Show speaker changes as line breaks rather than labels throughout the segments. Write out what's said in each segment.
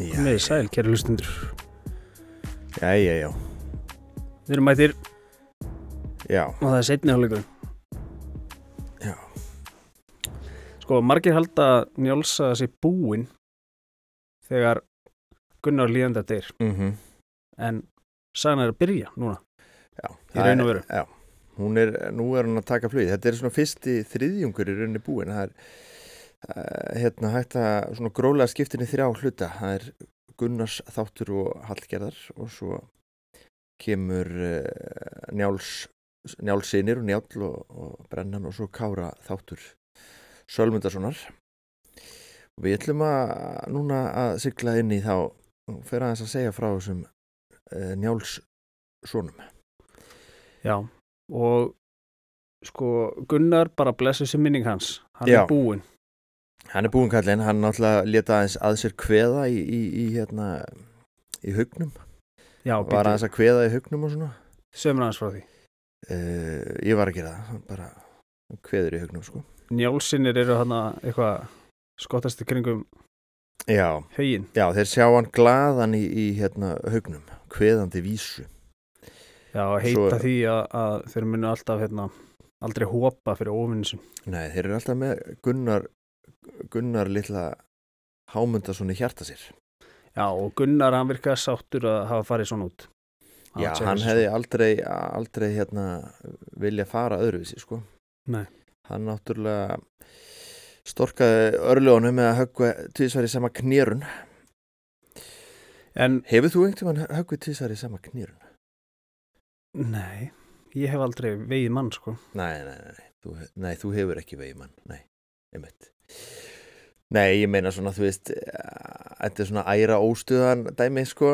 Verðið sæl, kæri hlustundur.
Já, já, já,
Við erum mættir
já,
og það er setni hálfleikurinn.
Já.
Sko, margir halda að njálsa sér búinn þegar Gunnar líðandi að deyr.
mm
En sagan er að byrja núna,
já
í
það
raun
er-
og veru.
Já, hún er, nú er hún að taka flugið Þetta er svona fyrsti þriðjungur í rauninni búin Það er, uh, hérna, hægt að svona grólega skiptin í þrjá hluta Það er Gunnars þáttur og Hallgerðar og svo kemur uh, Njáls Njálsinir og Njál og, og Brennan og svo Kára þáttur Sölmundarssonar og við ætlum að núna að sigla inn í þá og fyrir aðeins að segja frá þessum uh, Njálssonum
Já, og sko, Gunnar bara blessu sér minning hans. Hann
Já.
er búinn.
Hann er búinn kallinn, hann náttúrulega leta aðeins að sér kveða í, í, í hérna í hugnum,
Já,
var
býttu,
aðeins að kveða í hugnum og svona
sömur hans frá því.
uh, ég var að gera það, hann bara hann kveður í hugnum sko
Njálsinir eru hann eitthvað skottast í kringum
Já,
höginn.
já þeir sjá hann glaðan í, í hérna hugnum, kveðandi vísu
Já, að
Svo-
heita því að, að þeir munu alltaf hérna, aldrei hópa fyrir óvinninsum.
Nei, þeir eru alltaf með Gunnar Gunnar litla hámundason í hjarta sér
Já, og Gunnar hann virkaði sáttur að hafa farið svona út.
Já,
var
hann
tjekkaði
hefði aldrei, aldrei hérna, vilja fara öðruvísi sko.
Nei.
Hann náttúrulega storkaði örljónu með að höggva tvísvar í sama knýrun.
sig. En,
Hefur þú einhvern veginn höggvið tvísvar í sama knýrun?
nei, ég hef aldrei vegið mann, sko.
Nei, nei, nei, nei. Þú, nei, þú hefur ekki vegið mann. Nei, einmitt. Nei, ég meina svona, þú veist, eh, þetta er svona æra óstuðan dæmi, sko.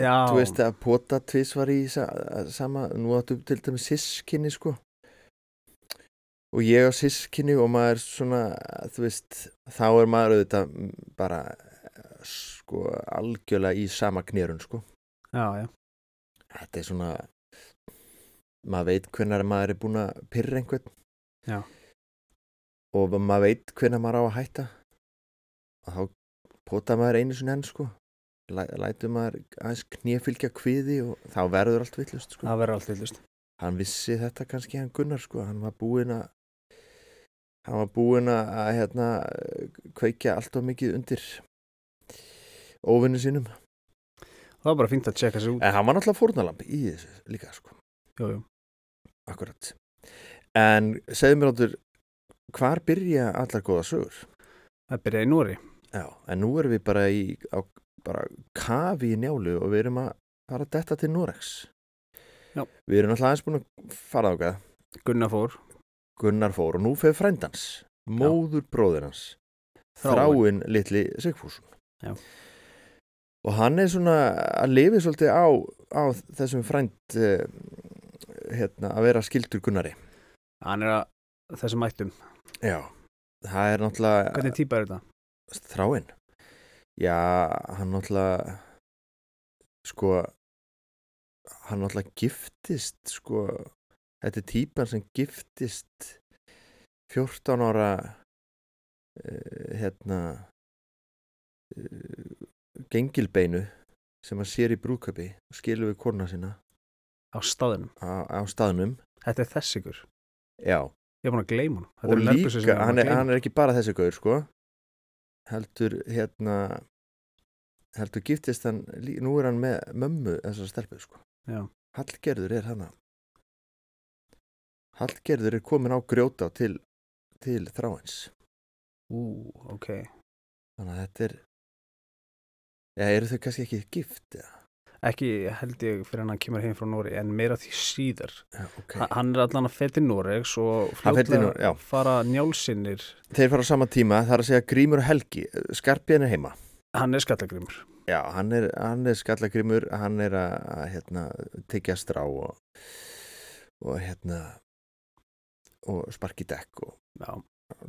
Já.
Þú veist, að pota tvísvar í sa sama, nú áttu til dæmi sískinni, sko. Og ég á sískinni og maður svona, þú veist, þá er maður auðvitað mm, bara, eh, sko, algjörlega í sama knýrun, sko.
Já, já.
Þetta er svona, maður veit hvenar maður er búin að pyrra einhvern.
Já.
Og maður veit hvenar maður á að hætta. Og þá pota maður einu sinni enn, sko. Læ, lætur maður aðeins knéfylgja kviði og þá verður allt villust, sko.
Það verður allt villust.
Hann vissi þetta kannski hann Gunnar, sko. Hann var búinn að, hann var búinn að, að, hérna, kveikja allt of mikið undir óvinni sínum.
Það var bara fínt að tjekka sig út.
En hann var náttúrulega fórnalamb í þessu líka, sko.
Jú, jú.
Akkurat. En segðu mér áttur, hvar byrja allar góða sögur?
Það byrjaði í Nóri.
Já, en nú erum við bara í, á, bara kafi í njálu og við erum að fara að detta til Norex.
Já.
Við erum alltaf aðeins búin að fara ákað.
Gunnar fór.
Gunnar fór og nú fer frændans, móður bróðir hans, þráinn litli Sigfússon.
Já.
Og hann er svona að lifi svolítið á, á þessum frænd eh, hérna, að vera skildur Gunnari.
Hann er að þessum mættum.
Já. Það er náttúrulega...
Hvernig típa er þetta?
þráinn já, hann náttúrulega sko hann náttúrulega giftist sko, þetta er típan sem giftist 14 ára uh, hérna uh, gengilbeinu sem hann sér í brúðköpi og skilur við korna sína
Á staðinum.
á, á staðnum
Þetta er þess ykkur.
já,
Ég er búin að gleyma hann. Þetta
og
eru nærbuxur sem ég
líka, hann
búin
er,
að
hann
gleyma.
er ekki bara þessi gaur sko heldur hérna heldur giftist hann lí- nú er hann með mömmu þessar stelpu sko
Já.
Hallgerður er hann Hallgerður er komin á grjóta til, til þráins
Ú, ok.
þannig að þetta er eða eru þau kannski ekki gift eða?
Ekki held ég fyrir hann að kemur heim frá Nóri, en meira því síðar.
Já, ok.
Ha- Hann er allan að fætti Noregs og
Hann fer til
fljótlega
Noregs, já.
fara njálsinnir.
þeir fara á sama tíma það er að segja Grímur og Helgi Skarpjan er heima
Hann er skallagrimur.
Já, hann er, hann er skallagrimur, hann er að, að hérna, tekja strá og, og hérna og sparki dekk og
Já.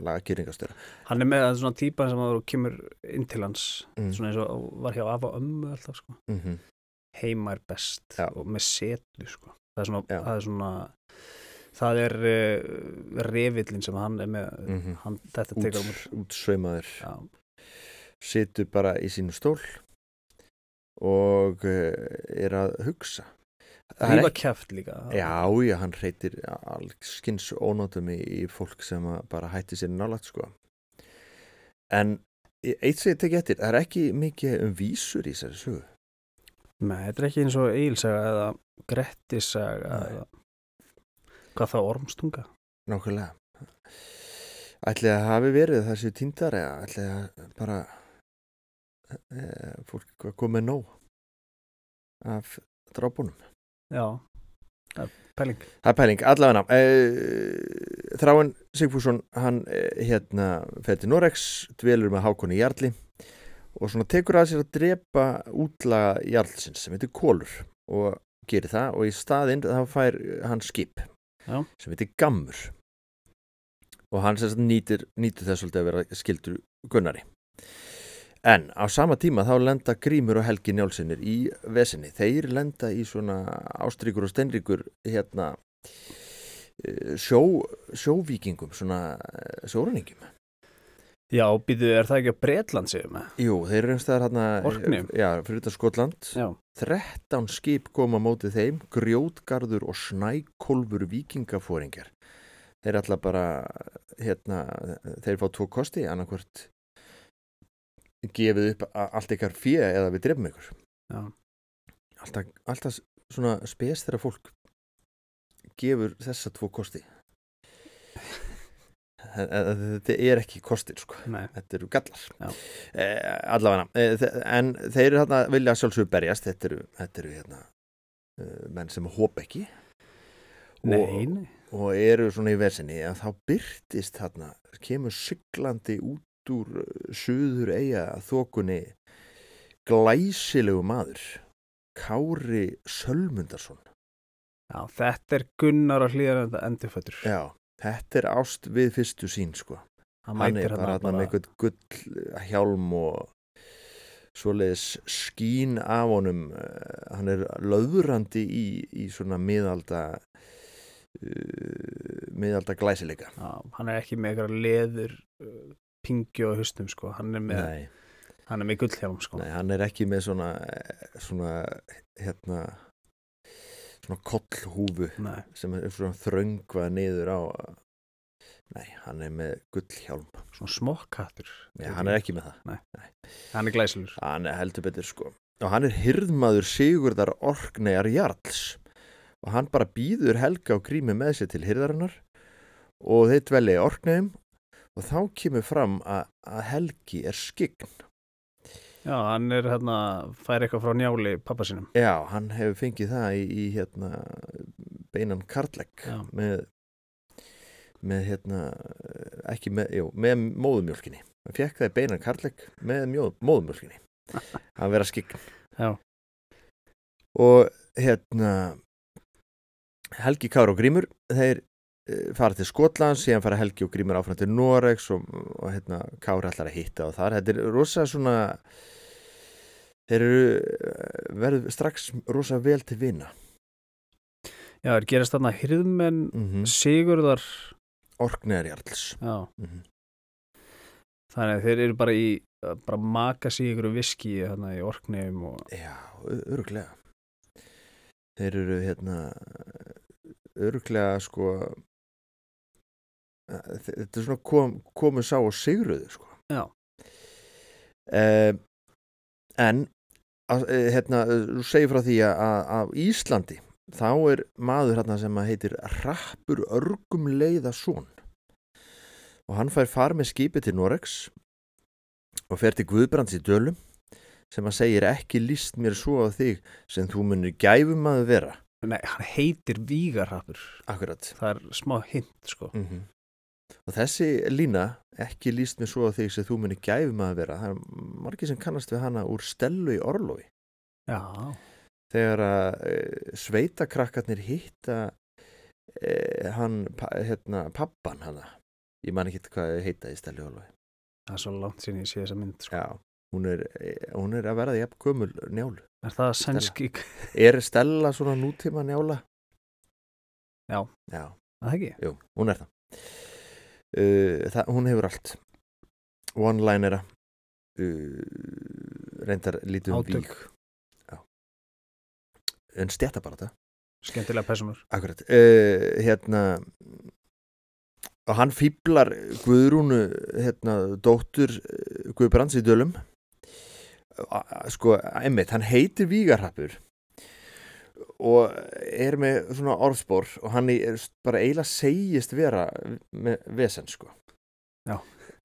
laga kýringastöra.
Hann er með að svona típa sem að þú kemur inn til hans,
Mm.
svona eins og var hjá afa og ömmu alltaf, sko.
Mm
Heima er best
Já.
og með setu, sko. Það er svona,
Já.
það er svona, það er uh, revillin sem hann er með,
Mm. mhm.
hann, þetta tekur um.
Út, útsveimaður,
Já,
situr bara í sínu stól og eh, er að hugsa Það er
Rífa kjæft líka
Já, já, hann reytir allskins ónótum í, í fólk sem að bara hætti sér nálagt sko. En e- eitt sem ég tekið eftir, það er ekki mikið um vísur í þessari sögu.
Nei, þetta er ekki eins og eilsaga eða grettisaga
Nei.
eða hvað þá ormstunga
Nákvæmlega. Ætli að hafi verið það séu týndar eða ætli að bara e, fólk var komið nóg af drápunum.
Já, það er pæling
Það er pæling, allavega e, Þráin Sigfússon hann e, hérna fer til Norex dvelur með Hákonni Jarli og svona tekur að sér að drepa útlaga Jarlsins sem heitir Kólur og gerir það og í staðinn þá fær hann skip
Já.
sem heitir Gammur og hann sem sagt nýtir, nýtir þess svolítið að vera skildur Gunnari En á sama tíma þá lenda Grímur og Helgi Njálsinnir í vesinni. Þeir lenda í svona ástríkur og steinríkur hérna eh, sjó, sjóvíkingum, svona eh, sjóræningum.
Já, býtu, er það ekki að Bretland séu með?
Jú, þeir eru einstæðar hérna...
Orkneyjum?
Já, fyrir þetta Skotland.
Já,
13 skip koma á mótið þeim, grjótgarður og snækolfur vikingafóringar. Þeir ætla bara, hérna, þeir fá tvo kosti, annarkvort gefið upp a- allt ykkar fjö eða við drefum ykkur.
já,
alltaf, alltaf svona spes þegar fólk gefur þessa tvo kosti En- en þetta er ekki kostir sko
nei,
þetta eru gallar
Já.
eh, allavega, eh, þe- en þeir eru þarna vilja sjálfsögur berjast þetta eru, þetta eru hérna, eh, menn sem hóp ekki
nei, nei.
og eru svona í vesinni að þá byrtist þarna, kemur syklandi út úr suður eiga þokunni glæsilegu maður Kári Sölmundarsson
Já, þetta er Gunnar að hlýðar en það endurfættur
Já, þetta er ást við fyrstu sín sko
Hann
hann
mætir
er bara
hann
þarna með
bara
einhvern gull eh, hjálm og svoleiðis skín af honum eh, hann er löðurandi í, í svona miðalda uh, miðalda glæsileika
já, Hann er ekki með eitthvað leður uh, pingju og hustum, sko Hann er með,
Nei
hann er með gullhjálm, sko
Nei, hann er ekki með svona eh, svona hérna svona kollhúfu
Nei.
sem er svona þröngvað niður á eh, Nei, hann er með gullhjálm
Svona smokkattur
Nei, hann er ekki með það
Hann er glæsilur
Hann er heldur betur sko og hann er hirðmaður Sigurðar Orkneyjar Jarls og hann bara býður Helga og Grími með sér til hirðarinnar og þeir dvelja í Orkneyjum og þá kemur fram að, að Helgi er skygg
Já, hann er hérna, fær eitthvað frá njáli pappa sínum
Já, hann hefur fengið það í, í hérna, beinan karlæk
Já.
með, með hérna, ekki með, jú, með móðumjólkinni. Hann fekk það í beinan karlæk með mjóð, móðumjólkinni. hann vera skikn.
Já.
Og hérna, Helgi Kár og Grímur, þeir eh, fara til Skotlands, síðan fara Helgi og Grímur áfram til Noregs og, og hérna, Kári allar að hitta og þar. Þetta er rosa svona, þeir eru eh, verð strax rosa vel til vina.
Já, er gerast þarna hirðmenn
Mm -hmm.
Sigurðar
Orkneðarjarls.
Já,
Mm -hmm.
þannig að þeir eru bara í eh, bara maka sig í ykkur viski hérna í orknefum og
Já, öruglega. Þeir eru hérna öruglega sko eh, þe- þetta er svona kom, komu sá og sigruðu sko.
Já.
Eh, en að, eh, hérna, eh, þú segir frá því að, að, að Íslandi þá er maður hérna sem að heitir Rappur Örgum Leiðason og hann fær far með skipi til Noregs og fer til Guðbrands í Dölum sem að segir ekki líst mér svo á þig sem þú munir gæfum að vera
Nei, hann heitir Vígarhapur
akkurat
Það er smá hint sko
mm og þessi lína ekki líst mér svo á þig sem þú munir gæfum að vera það er margir sem kannast við hana úr stelu í orlofi
Já,
þegar að e, sveitakrakkarnir hitta e, hann pa, hérna, pappan hana ég man ekki hvað þau heita í stelu í orlofi
það er svo langt sín ég sé þessa mynd sko.
já, hún er, e, hún er að verða jafn gömul njálu
Er það sænski
er stella svona nútíma njála?
Já.
já
Það ekki?
Jú, hún er það. Uh, það hún hefur allt. One-linera. Uh, reyndar lítið um
Átök.
vík. en stjæta bara þetta
skemmtilega personur
Akkurat, uh, hérna og hann fýblar Guðrúnu hérna, dóttur eh, Guðbrands í Dölum A- a- sko, einmitt, hann heitir Vígarhappur og er með svona orðspor og hann er bara eiginlega segist vera með vesen sko
Já,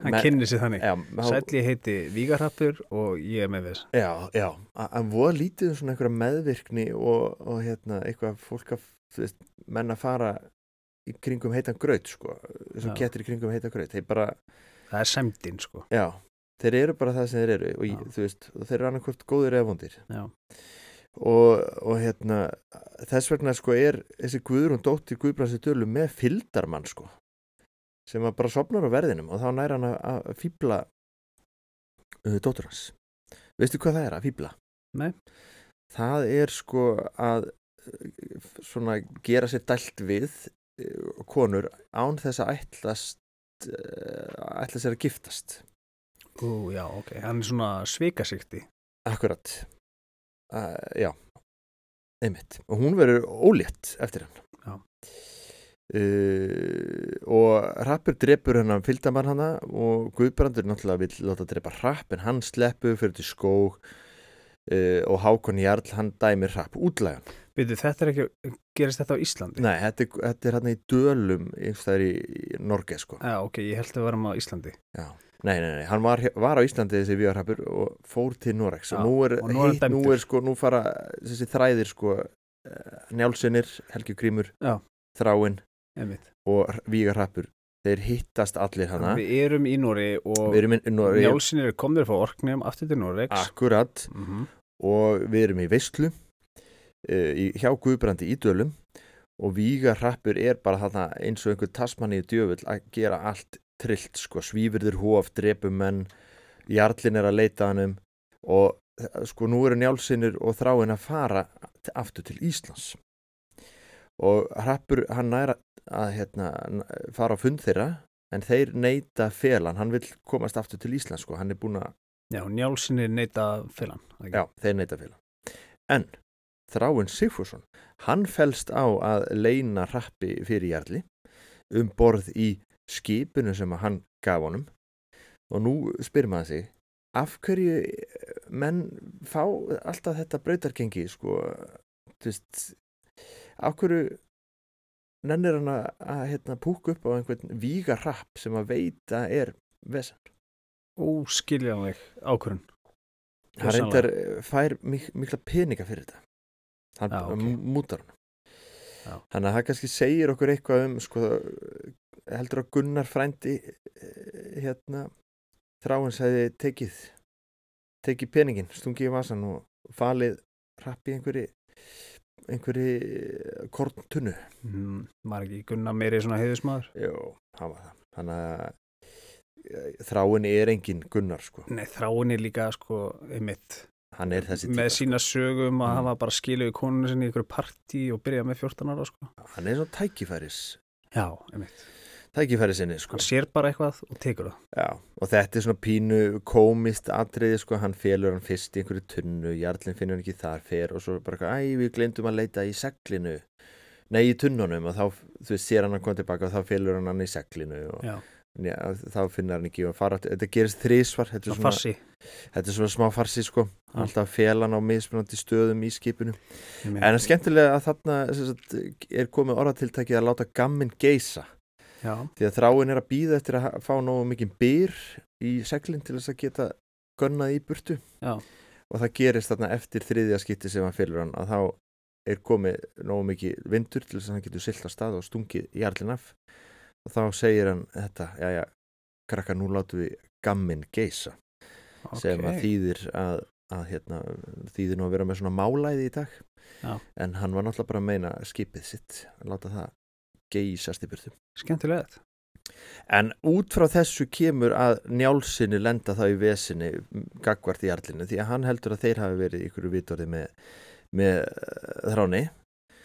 hann
Me-
kynni sér þannig
já, má-
Sæll ég heiti Vígarhappur og ég er með þess
Já, já, a- hann voða lítið um svona einhverja meðvirkni og, og hérna, eitthvað fólk að, þú veist, menn að fara í kringum heitan graut, sko, eins og
Já.
kettir í kringum heitan graut, þeir bara,
það er semdin sko
já, þeir eru bara það sem þeir eru og, ég,
Já.
þú veist, og þeir eru annarkvort góðir eða vondir
Já.
og, og hérna, þess vegna, sko, er þessi Guðrún dóttir Guðbransi Dölu með fyldarmann, sko, sem að bara sopnar á verðinum og þá nær hann að, að fýbla uh, dóttur hans. Veistu hvað það er að fýbla?
Nei.
Það er sko að eh, f- svona gera sér dælt við eh, konur án þess að ætlast eh, ætla sér að giftast
Ú, já, ok, hann er svona svikasíkti
Akkurat uh, Já, einmitt og hún verður ólétt eftir hann
Já.
Uh, og Rappur drepur hennan fylgdamann hana og Guðbrandur náttúrulega vill láta drepa Rapp en hann sleppur fyrir til skóg uh, og Hákon Jarl hann dæmir Rapp útlæg
Byrju, þetta er ekki, gerist þetta á Íslandi?
Nei, þetta, er- þetta er hann í dölum einhverstaðar í, í Norge sko.
Já, ok, ég held að við varum á Íslandi
Nei, nei, nei, hann var, var á Íslandi þessi viðarhafur og fór til Norex
Já,
og nú er,
og nú er hann
hitt, nú
dæmdur.
er sko, nú fara þessi þræðir sko, eh, njálsinir, Helgi Grímur,
Já.
þráin
einmitt.
og viðarhafur, þeir hittast allir hana.
Við erum í Nóri og
Hérna. Við erum í Noreg,
Njálsinn eru komnir frá Orknum aftur til
Ah.
Noregs
akkurat
mm
og við erum í Veistlu uh, í, hjá Guðbrandi í Dölum og Vígarrappur er bara þarna eins og einhver tasmann í djöfull að gera allt trillt sko, svífurður hóf, drepumenn jarlinn er að leita hann um og eh, sko nú eru njálsinnir og þráin að fara t- aftur til Íslands og Rappur hann nær að- að hérna, n- fara á fund þeirra en þeir neita felan, hann vill komast aftur til Íslands sko, hann er búin að
Já, Njálsinn er neita félan
Já, þeir neyta félag. En Þráinn Sigfússon, hann fælst á að leina rappi fyrir Jarli um borð í skipinu sem að hann gaf honum og nú spyr maður sig af hverju eh, menn fá alltaf þetta brautargengi sko, þú veist af hverju nennir hann að, að hérna, púka upp á einhvern víga rapp sem að veita er vesen
Óskiljanleg ákvörun
hann
Hugsanlega.
reyndar eh, fær mik mikla peninga fyrir þetta hann
Já,
já,
ok.
mútar hann
Já.
þannig að það kannski segir okkur eitthvað um sko, heldur að Gunnar frændi eh, hérna þráins hefði tekið tekið peningin, stungið í vasan og falið rapp í einhverju einhverju eh, korntunnu
mm, Maður ekki gunna meiri svona heiðismadur
Jó, hann var það þannig að eh, þráin er engin Gunnar sko,
Nei, þráin er líka sko einmitt
hann er þessi
með
típa, sko.
sína sögum að
Mm.
hafa bara skiluði konunni sinni í ykkur partí og byrja með 14 ára sko
sko. hann er svona tækifæris
Já, einmitt
tækifæri sinni sko.
Hann sér bara eitthvað og tekur það
Já, og þetta er svona pínu komist atriði, sko, hann félur hann fyrst í einhverju tunnu, jarlinn finnur hann ekki þar fer og svo bara, eitthvað, æ, við glemdum að leita í seglinu, nei, í tunnunum og þá, þú veist, sér hann að koma tilbaka og þá félur hann hann í seglinu og
Já,
já, þá finnur hann ekki og fara, þetta gerist þrísvar, þetta er
svona
svona,
farsi
þetta er svona smá farsi, sko,
Já.
alltaf fél hann á mismunandi stöðum í skipinu.
einmitt.
En það er skemmtilega að þarna sem sagt, er komið orðatiltækið að láta gamminn geisa
Já,
því að þráin er að býða eftir að ha- fá nógu mikið byr í seglinn til þess að geta gönnað í burtu
Já.
og það gerist þarna eftir þriðja skipti sem hann fylgur hann að þá er komið nógu mikið vindur til þess að hann getur silt á stað og stungið jarlinn af og þá segir hann þetta, já já, krakka nú látum við gamminn geisa
ok
sem að þýðir að, að hérna, þýðir nú að vera með svona málæði í dag
Já.
en hann var náttúrulega bara að meina skipið sitt, láta það geisast í burtu
Skemmtilega
En út frá þessu kemur að njálsinni lenda þá í vesinni gagvart í jarlinu því að hann heldur að þeir hafi verið í ykkur vitorði með, með eh, þráni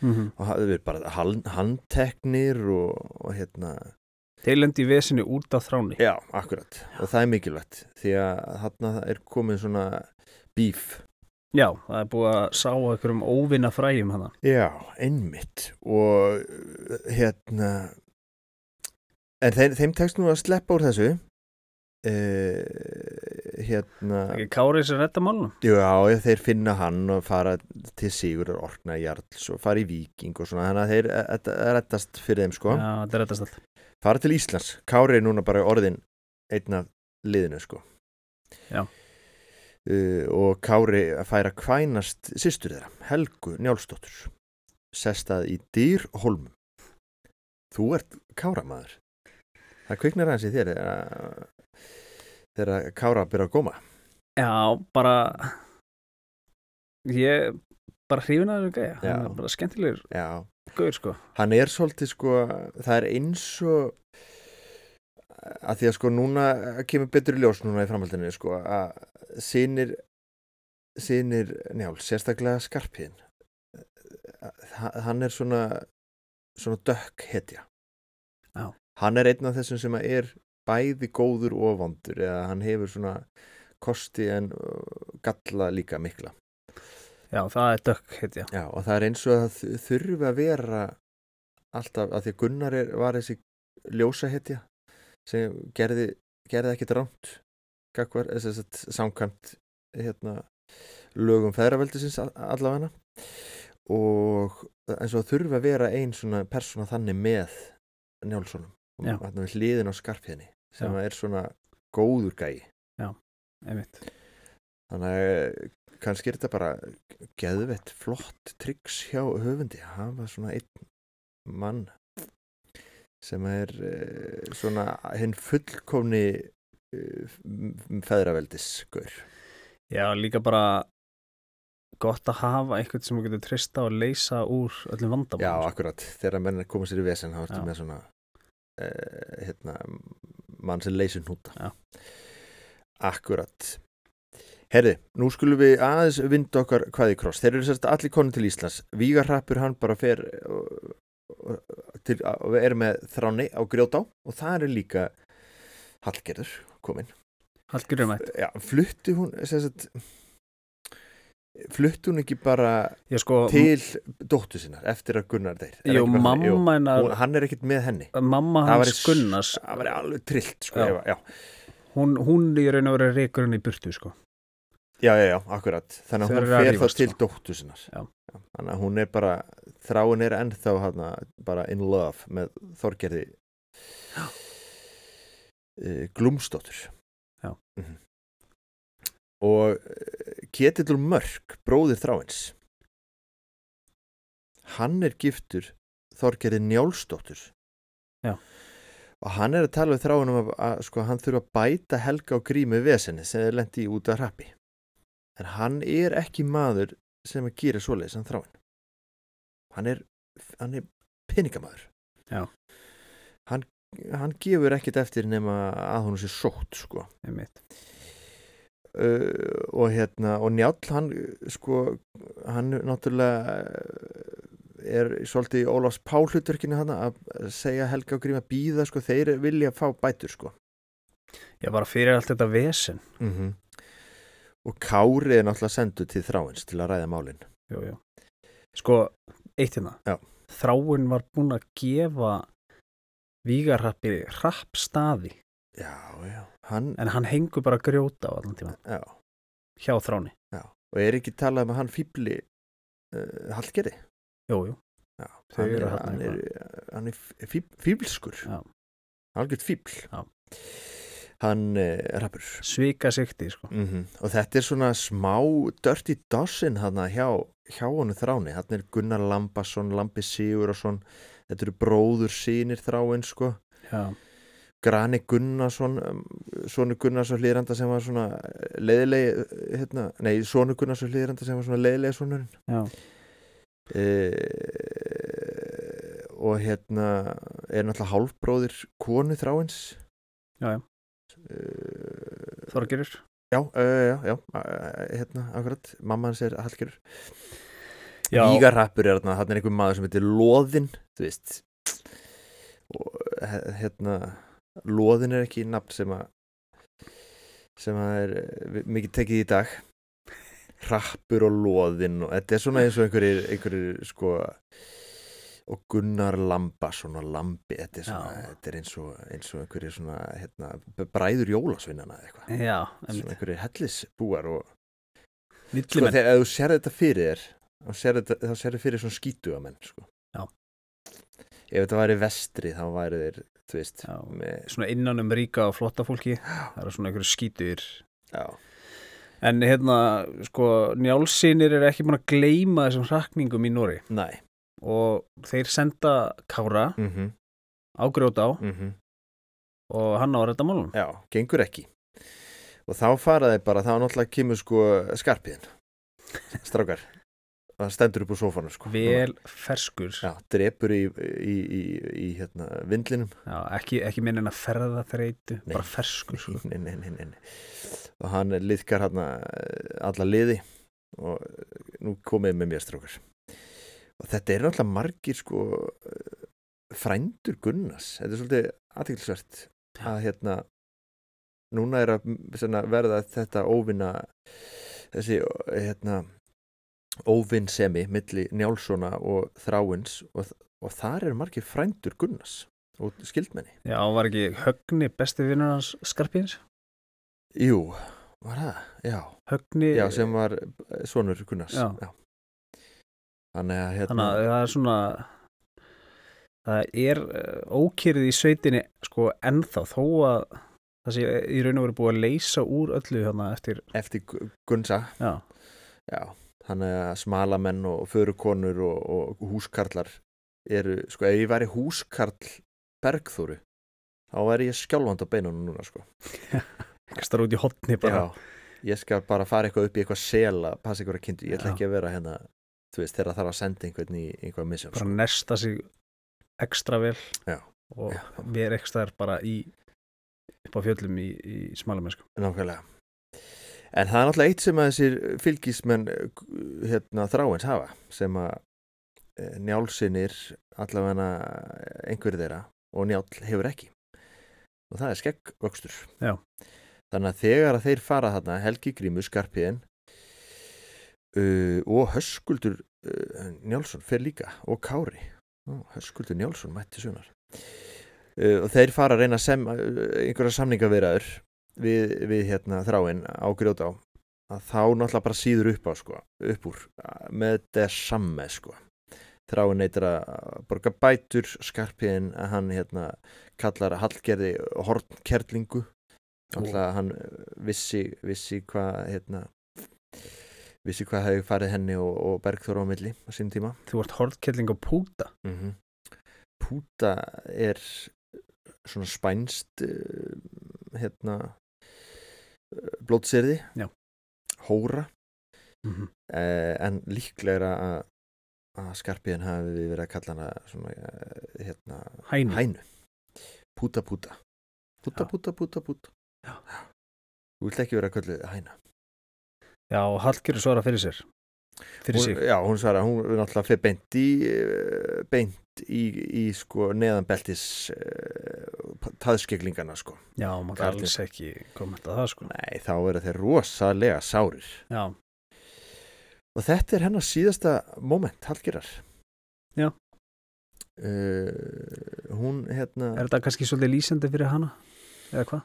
mm -hmm.
og hafi verið bara hand, handteknir og, og hérna
Þeir lendi í vesinu út af þráni
Já, akkurat og það er mikilvægt því að þarna er komið svona bíf
Já, það er búið að sá einhverjum óvinna fræjum hana.
Já, einmitt og uh, hérna en þeim, þeim tekst nú að sleppa úr þessu uh, hérna
Það er ekki Kárið sem retta málunum.
já, já, þeir finna hann og fara til Sigur og Orkna Jarls og fara í Víking og svona þannig að þeir e, þetta rettast fyrir þeim sko
Já, þetta er rettast allt.
fara til Íslands, Kári er núna bara orðin einn af liðinu sko
Já.
Uh, og Kári fær að kvænast systur þeirra, Helgu Njálsdóttur sestað í Dýrholm þú ert Káramaður það kviknar aðeins í þér þegar þegar Kára byrja að góma
Já, bara, ég bara hrifin að þessu gæja.
Já.
Hann er bara skemmtilegur
já,
gauður, sko.
hann er svolítið sko það er eins og að því að sko núna kemur betur í ljós núna í framhaldinu sko að sinir sinir njál, sérstaklega skarpiðin hann er svona svona dökk hetja
Já.
hann er einn af þessum sem að er bæði góður og vondur eða hann hefur svona kosti en uh, galla líka mikla
Já, það er dökk, heit ég.
Já, og það er eins og að það þurfi að vera alltaf, að því að Gunnar er, var þessi ljósahetja sem gerði, gerði ekkit rámt gagvar, þess að eh, samkvæmt hérna, lögum feðraveldisins a- allavega og eins og það þurfi að vera ein svona persóna þannig með Njálssonum
Já.
og hérna við hliðin á skarpinni sem
Já.
er svona góður gæi
Einmitt.
Þannig að eh, kannski er þetta bara geðvett flott triks hjá höfundi að hafa svona einn mann sem er eh, svona hinn fullkomni eh, feðraveldisgur.
Já, líka bara gott að hafa einhvern sem þú getur trista og leysa úr öllum vandamálum.
Já,
sko.
akkurat. Þegar menn koma sér í vesen þá ertu
Já.
með svona uh, hérna, mann sem leysir núta.
Já.
Akkurat. Herði, nú skulum við aðeins vinda okkar hvaði kross. Þeir eru sérst allir konu til Íslands. Vígarrappur hann bara fer og, og, til, og er með þráni á grjótá og það er líka Hallgerður komin
Hallgjörður mætt.
Já, flutti hún sérst, flutti hún ekki bara
Ég sko,
til dóttu sinnar eftir að Gunnar deyr Er
jú,
ekki bara
mamma
þannig? Hún,
hennar,
hann er ekkert með henni
mamma
Það
hans
væri s-
Gunnars,
það var alveg trillt
Já.
sko, ef að- já.
hún, hún í raun og verið reikur henni í burtu, sko.
já, já, já, akkurat þannig
Þau
að hún
eru að
fer þá
rífast,
til
sko.
dóttu sinnar
Já.
þannig að hún er bara þráin er ennþá hana, bara in love með Þorgerði uh, Glúmsdóttur
Já.
Mhm. og uh, Ketillur Mörk bróðir þráins hann er giftur Þorgerði Njálsdóttur
Já.
og hann er að tala við þráin um að, að sko, hann þurfa að bæta helga og grími vesenni sem þeir lendi í út af hrappi en hann er ekki maður sem að gera svoleiðis hann þráin hann er, hann er peningamaður
Já.
hann, hann gefur ekkit eftir nema að hún sé sótt sko
Einmitt.
uh, og hérna og Njáll hann uh, sko hann náttúrulega uh, er svolítið í Ólafs Pálhuturkinu hann að segja Helga og Gríma býða sko þeir vilja fá bætur sko
Ég bara fyrir allt þetta vesen.
mm -hmm. og Kári er náttúrulega sendur til þráins til að ræða málin
Jú, jú. Sko, eitt hérna.
Já.
Þráin var búin að gefa vígarrappi rappstaði,
já, já, hann
en hann hengur bara grjóta á allan tíma,
já,
hjá þráni.
og er ekki talað um að hann fýbli uh, Hallgerði
Jú, jú.
Já,
Þau
hann,
eru
er,
þarna
hann, er, uh, hann er fíb, fíblskur
Já.
algjörð fíbl
Já.
hann uh, rappur
Svika sikti, sko.
mm og þetta er svona smá Dirty Dossin hann hjá, hjá honum þráni, hann er Gunnar Lambasson Lambi Sigurðarsson þetta eru bróður sínir þráin sko
Já.
Grani Gunnarsson um, Sónu Gunnarsson hlýranda sem var svona leiðilegi uh, hérna, nei, Sónu Gunnarsson hlýranda sem var svona leiðilegi sonurinn
Já.
uh, E, og hérna er náttúrulega hálfbróðir konu þráins
Já, já.
uh,
Þorgerur.
já, uh, já, já uh, hérna, akkurat, mamma hans er Hallgerur
Já.
Vígarrappur er þarna, þarna er einhver maður sem heitir Lóðin, þú veist og he- hérna Lóðin er ekki nafn sem að sem að er eh, vi- mikið tekið í dag rappur og loðinn og þetta er svona eins og einhverjir, einhverjir sko og Gunnar Lamba svona Lambi, þetta er, svona,
Já.
þetta er eins, og, eins og einhverjir svona hérna, b- bræður jólasvinnana eða eitthvað
Já,
svona einhverjir hellisbúar og sko
villimenn
þegar ef þú sér þetta fyrir þér þá sér þetta, þá sér þetta fyrir svona skítuga menn sko.
Já.
ef þetta væri vestri þá væri þeir þú veist
Já.
með,
Svona innan um ríka og flotta fólki Það eru svona einhverju skítur
já,
En hérna, sko, njálsynir er ekki búin að gleyma þessum hrakningum í Nóri
næ
og þeir senda Kára
mm -hmm,
á grjóta á og hann á að redda málum
já, gengur ekki og þá fara þeir bara, þá náttúrulega kemur sko skarpiðin strákar, það stendur upp úr sófanum sko
Vel ferskur
Já, drepur í, í, í, í hérna, vindlinum
Já, ekki, ekki minn en að ferða þreytu
Nei.
Bara ferskur sko.
nei, nei, nei, nei, nei. og hann liðkar hérna alla liði og eh, nú komið með mér strókar og þetta er náttúrulega margir sko eh, frændur Gunnars þetta er svolítið aðtilsvert að hérna núna er að svona, verða þetta óvinna þessi hérna óvinnsemi milli Njálssona og Þráins og, og þar er margir frændur Gunnars og skildmenni
Já, var ekki Högni besti vinnur hans Skarpins?
Jú, var það, já,
Högni,
já sem var eh, sonur Gunnars
Já.
Þannig að hérna
þannig að það er svona það er eh, ókyrrið í sveitinni sko ennþá þó að það sé í raun og veru búið að leysa úr öllu hérna eftir
eftir Gu- Gunnsa
já,
já, þannig að smalamenn og förukonur og, og húskarlar eru, sko, ef ég væri húskarl Bergþóru þá væri ég skjálfand á beinunum núna, sko
kastar út í hotni bara
Já, ég skal bara fara eitthvað upp í eitthvað sela passa eitthvað kindu, ég ætla
Já.
ekki að vera hérna þú veist, þegar þarf að senda einhvern í sko. einhvað misjón,
bara nesta sig ekstra vel
Já.
og
Já.
vera ekstra er bara í upp á fjöllum í, í smalamennsku
Nákvæmlega. En það er náttúrulega eitt sem að þessir fylgismenn eh, g- hérna, þráins hafa sem að eh, njálsinir allavega einhverju þeirra og njál hefur ekki. Og það er skeggvöxtur.
Já.
Þannig að þegar að þeir fara þarna, Helgi Grímur, Skarpiðin uh, og Höskuldur uh, Njálsson fer líka og Kári. Ó, Höskuldur Njálsson mætti sunar. Uh, og þeir fara að reyna að sem, uh, einhverja samningaveraður við, við hérna, þráin á grjóta á að þá náttúrulega bara síður upp á sko, upp úr með þetta samme sko. þráin neytir að borga bætur skarpiðin að hann hérna, kallar að Hallgerði hornkerlingu náttúrulega að hann vissi, vissi hvað hérna, vissi hvað hefði farið henni og, og Bergþóra á milli á sínum tíma
þú ert hortkelling og púta
mm Púta er svona spænst uh, hérna blótsirði
Já.
hóra
mm
uh, en líklegra að að skarpiðin hafi verið að kalla hana svona, eh, hérna,
hæni,
hænu púta púta púta
Já.
púta púta púta
Já.
þú vilt ekki vera að kalla hæna
já, og Hallgerður svara fyrir sér fyrir sig,
hún, já, hún svarar, hún er náttúrulega fyrir beint í eh, beint í, í sko neðanbeltis uh, taðskeglingana sko
já, maður
Karlinn.
alls ekki kommenta það sko
nei, þá eru þeir rosalega sárir
já,
og þetta er hennar síðasta moment, Hallgerar
Já.
Eh, hún hérna
er þetta kannski svolítið lýsandi fyrir hana eða hvað?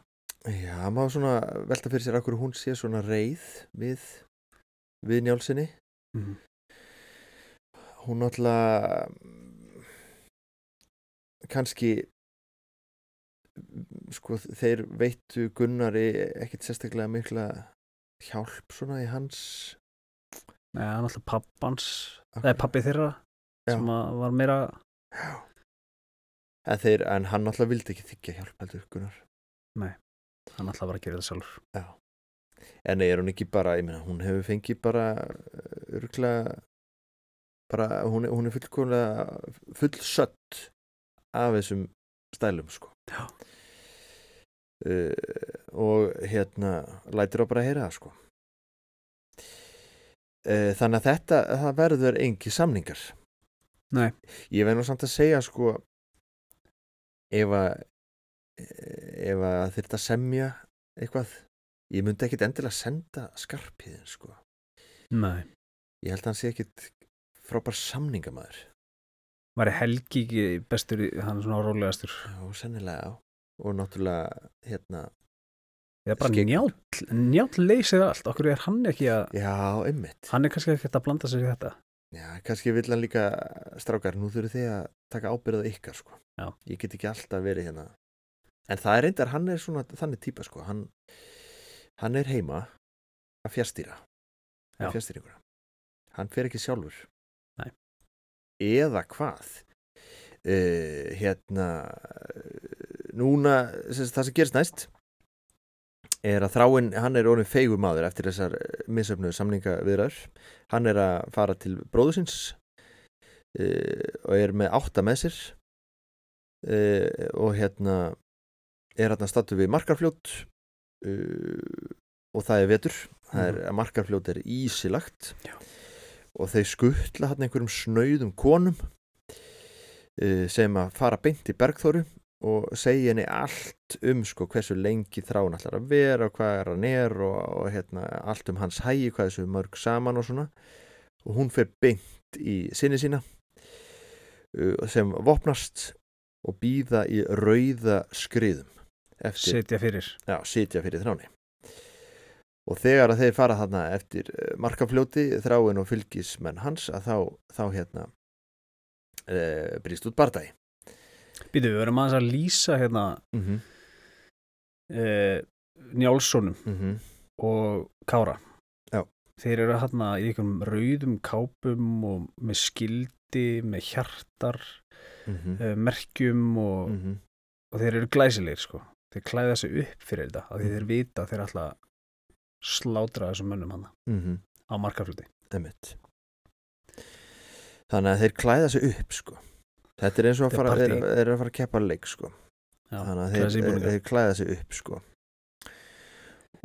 já, maður svona velta fyrir sér akkur hún sé svona reið við við njálsinni Mhm.
Mm.
hún náttúrulega mm, kannski mm, sko þeir veittu Gunnari ekkit sérstaklega mikla hjálp svona í hans
Nei, það er náttúrulega pappans Það er pappi þeirra
Já.
sem að var meira
en, þeir, en hann náttúrulega vildi ekki þykja hjálp heldur Gunnar
hann alltaf var að gera það sjálfur
en er hún ekki bara, ég meina hún hefur fengið bara örgla bara hún, er- hún er fullkomlega fullsött af þessum stælum sko
Já.
uh, og hérna lætir á bara að heyra það sko uh, þannig að þetta það verður engi samningar
Nei.
ég verður samt að segja sko ef að ef að þyrfti að semja eitthvað ég myndi ekkit endilega senda skarpiðin sko
Nei.
Ég held að hann sé ekkit frábær samningamæður.
Var Helgi ekki bestur, í- hann er svona rólegastur.
Já, sennilega, já. Og náttúrulega, hérna,
Eða bara
Skegg.
njáll, njáll leysir allt. Okkur er hann ekki að,
já, ymmit.
hann er kannski ekkert að blanda sér í þetta.
Já, kannski vill hann líka strákar, nú þurfið þið að taka ábyrðað ykkar, sko.
Já.
Ég get ekki alltaf verið hérna. En það er reyndar, hann er svona þannig típa, sko. Hann, hann er heima að fjastýra.
Já.
Að fjastýra ykkur. Hann fer ekki sjálfur.
Nei.
Eða hvað? Uh, hérna, eh, núna, sem, sagt, það sem gerist næst er að þráinn, hann er orðin feigumadur eftir þessar missöfnu samninga viðrar hann er að fara til bróðusins uh, og er með átta með sér uh, og hérna er hann að statu við markarfljót uh, og það er vetur það er
Mhm.
að markarfljót er ísilagt
Já.
og þeir skuttla hann einhverjum snauðum konum uh, sem að fara beint í bergþóru og segja henni allt um sko hversu lengi þráin allar að vera og hvað er hann er og, og hérna allt um hans hægi, hvað þessu mörg saman og svona og hún fer beint í sinni sína uh, sem vopnast og býða í rauða skriðum eftir,
Setja fyrir.
já, sitja fyrir þráni og þegar að þeir fara þarna eftir eh, markafljóti þráin og fylgismenn hans að þá, þá hérna e, brýst út bardagi
Býtu, við verum aðeins að lýsa hérna
mm -hmm.
uh, Njálssonum
Mm -hmm.
og Kára.
Já.
Þeir eru hérna í einhverjum rauðum kápum og með skildi, með hjartar,
Eh,
uh, merkjum og
Mm. mhm,
og þeir eru glæsilegir sko þeir klæða sig upp fyrir þetta af því
Mm.
þeir vita að þeir ætla að slátra þessum mönnum hana á markafluti
mhm, Einmitt. Þannig að þeir klæða sig upp sko. Þetta er eins og að
Þetta er
fara, er,
partí.
er að fara að keppa leik sko.
Já,
Þannig að
klæða sig í
þeir, þeir,
búninga.
klæða sig upp sko.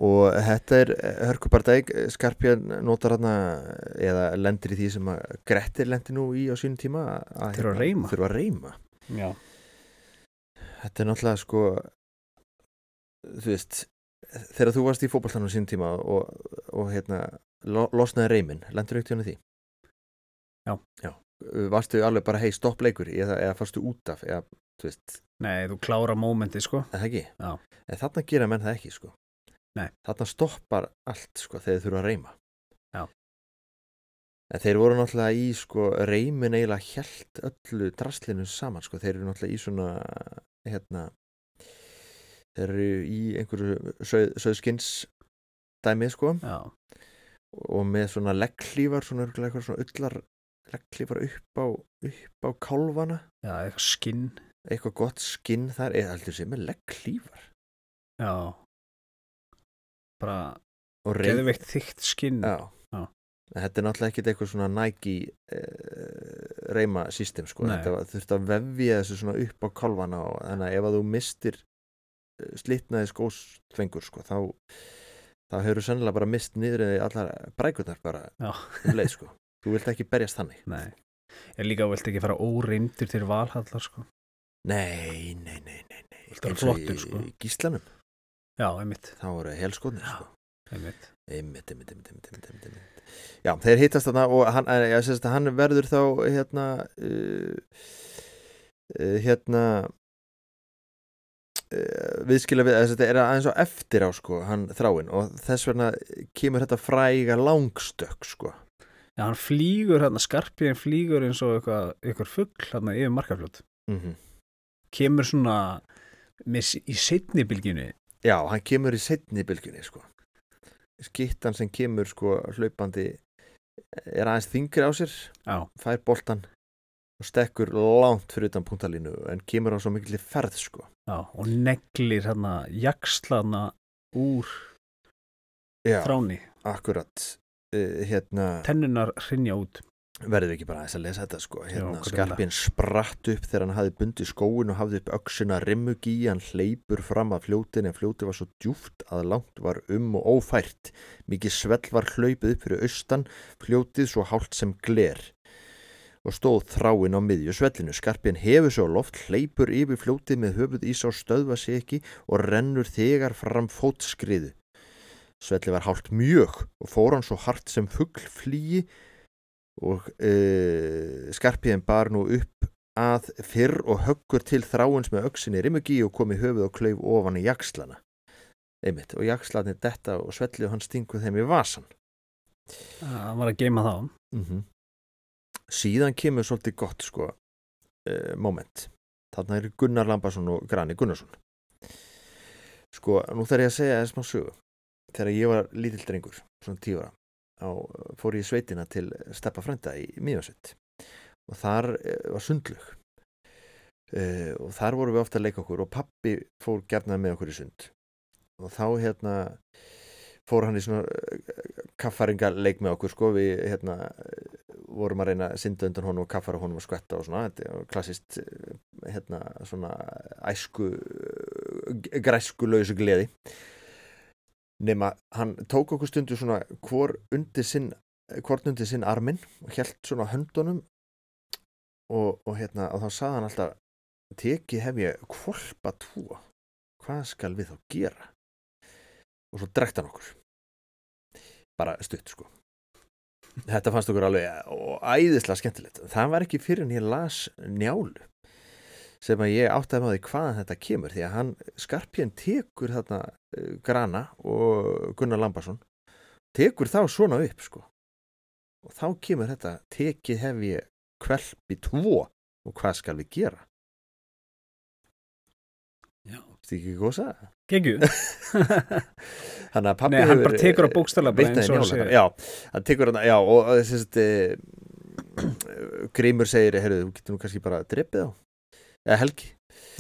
Og þetta er eh, Hörkubardæk, Skarpjörn notar hana eða lendir í því sem að Grettir lendir nú í á sínum tíma að
Þurfa að
hérna,
reima.
Þurfa að reyma
já,
Þetta er náttúrulega sko þú veist þegar þú varst í fótballtanum sínum tíma og, og hérna lo, losnaði reymin, lendur aukt hérna því?
Já.
Varstu alveg bara hei stopp leikur eða, eða fórstu út af eða þú veist,
nei, þú klára mómenti sko
eða ekki?
Já.
En þarna gera menn það ekki sko
Nei.
Þarna stoppar allt sko þegar þau þurfa að reyma
Já.
En þeir voru náttúrulega í sko reymin eiginlega hjælt öllu draslinu saman sko þeir eru náttúrulega í svona hérna þeir eru í einhverju söð, söðskins dæmið sko
já,
og með svona legglífar svona örgulega eitthvað svona ullar legglífar upp á, upp á kálfana
já, eitthvað skinn
eitthvað gott skinn þar eða heldur sér með legglífar
já bara
og reyð
geðveikt þygt skinn
já.
Já.
En þetta er náttúrulega ekkit eitthvað svona Nike uh, reyma system sko,
Nei.
þetta var- þurfti að vefja þessu svona upp á kálfana og þannig að ef að þú mistir eh, slitnaði skósfengur sko, þá þá hefur þú sennilega bara mist niður eða allar brækurnar bara
Já.
um leið sko, þú vilt ekki berjast þannig
nei, ég líka vilt ekki fara óreyndur til valhallar sko
Nei, nei, nei, nei, nei.
Þetta er
Eins og
flottur,
í-
sko.
Í gíslanum,
já, einmitt,
þá voru helskotnir,
Já.
sko.
einmitt.
Einmitt, einmitt, einmitt, einmitt, einmitt, einmitt, einmitt. Já, þeir hittast þarna og hann, eh, já, sérst, hann verður þá, hérna, uh, uh, hérna, uh, viðskila við, þess að þetta er aðeins á eftir á, sko, hann þráinn og þess vegna kemur þetta fræga langstökk, sko.
já, hann flýgur hérna, skarpiðin flýgur eins og eitthvað, eitthvað fugl hérna yfir markaflut
Mm
kemur svona með, í seinni bylginu
Já, hann kemur í setni bylgunni sko. Skittan sem kemur sko hlaupandi eh, er aðeins þingri á sér,
já,
fær boltan og stekkur langt fyrir utan punktalínu en kemur á svo mikillir ferð sko.
Já, og neglir hérna jakslana úr
Já,
þráni.
akkurat. Uh, hérna,
Tennunar hrinja út.
verður ekki bara aðeins að lesa þetta sko. Hérna,
Já, greinilega.
skarpinn spratt upp þegar hann hafði bundið skóin og hafði upp öksuna rimmug í, hann hleypur fram að fljótin en fljótið var svo djúft að langt var um og ófært. Mikið svell var hlaupið upp fyrir austan, fljótið svo hálft sem gler og stóð þráinn á miðju svellinu. Skarpinn hefur svo loft, hleypur yfir fljótið með höfuð ís á stöðva sig ekki og rennur þegar fram fótskriðu. Svelli var hálft mjög og fór hann svo hart sem fuggl flýi og e, skarpiðin bar nú upp að fyrr og höggur til þráins með auksinni rimugi og kom í höfuð og klauf ofan í jakslana. Einmitt, og jakslanir detta og Svelli og hann stinguð þeim í vasan.
Það var að geima þá.
Mm Síðan kemur svolítið gott sko e, moment. Þarna eru Gunnar Lambarsson og Grani Gunnarsson. Sko, nú þarf ég að segja eða smá sögu. Þegar ég var lítill drengur, svona tífara, á, fór ég í sveitina til steppa frenda í Mýjónsveit og þar eh, var sundlug uh, og þar vorum við ofta að leika okkur og pappi fór gerna með okkur í sund og þá hérna fór hann í svona kaffaringa leik með okkur sko við hérna eh, vorum að reyna að synda undan honum og kaffara honum og skvetta og svona þetta er klassist eh, hérna svona æsku eh, græsku lausu gleði nema hann tók okkur stundu svona hvor undir sinn hvort undir sinn arminn og held svona á höndunum og, og hérna og þá sagði hann alltaf teki hef ég kvolpa tvo hvað skal við þá gera og svo drekta hann okkur bara stutt sko þetta fannst okkur alveg eh, og æðislega skemmtilegt það var ekki fyrir en ég las njálu sem að ég áttaði með því hvaðan þetta kemur því að hann skarpjinn tekur þarna eh, Grana og Gunnar Lambarsson tekur þá svona upp sko og þá kemur þetta tekið hef ég kvelpi tvo og hvað skal við gera
Já.
Þetta ekki góð að sagða
Gengju?
Þannig að pappi
Nei, hann
hefur, eh,
bara tekur á bókstaflega bara
vitnað
eins
í
og hann
Njála
segir.
bara. Já, hann tekur hann Já, og eh, þess að eh, Grímur segir, heyrðu, þú getur nú kannski bara drepið á eða Helgi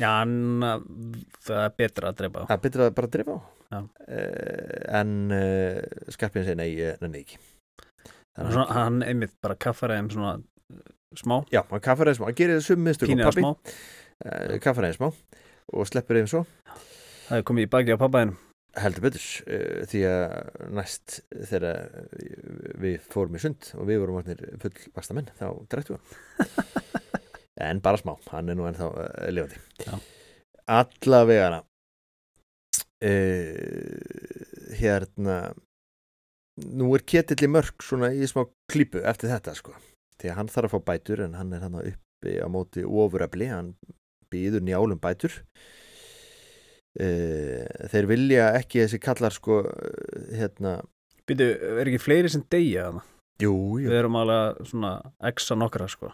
Já, hann, uh, það er betra að drepa þá.
Það er betur að bara drifa á
Já.
Eh, En uh, skarpiðin segir nei, eh, nenni ekki
Hann svona- Hann einmitt bara kaffar þeim svona uh, smá,
Já, hann kaffar einn smá, hann gerir þessu mistur
pínir að smá.
Kaffar einn Eh, smá og sleppur einn svo
Það er komið í baki á pappaðin.
heldur betur uh, því að næst þegar við fórum í sund og við vorum orðnir fullvasta menn þá drektu hann en bara smá, hann er nú ennþá uh, lifandi
Já.
alla vegana uh, eh, hérna nú er ketill í mörg svona í smá klípu eftir þetta sko því að hann þarf að fá bætur en hann er hann uppi á móti ofurafli, hann býður njálum bætur Eh, þeir vilja ekki þessi kallar sko eh, hérna
Býtu, er ekki fleiri sem deyja þarna?
jú, jú,
Við erum alveg svona exa nokkra, sko.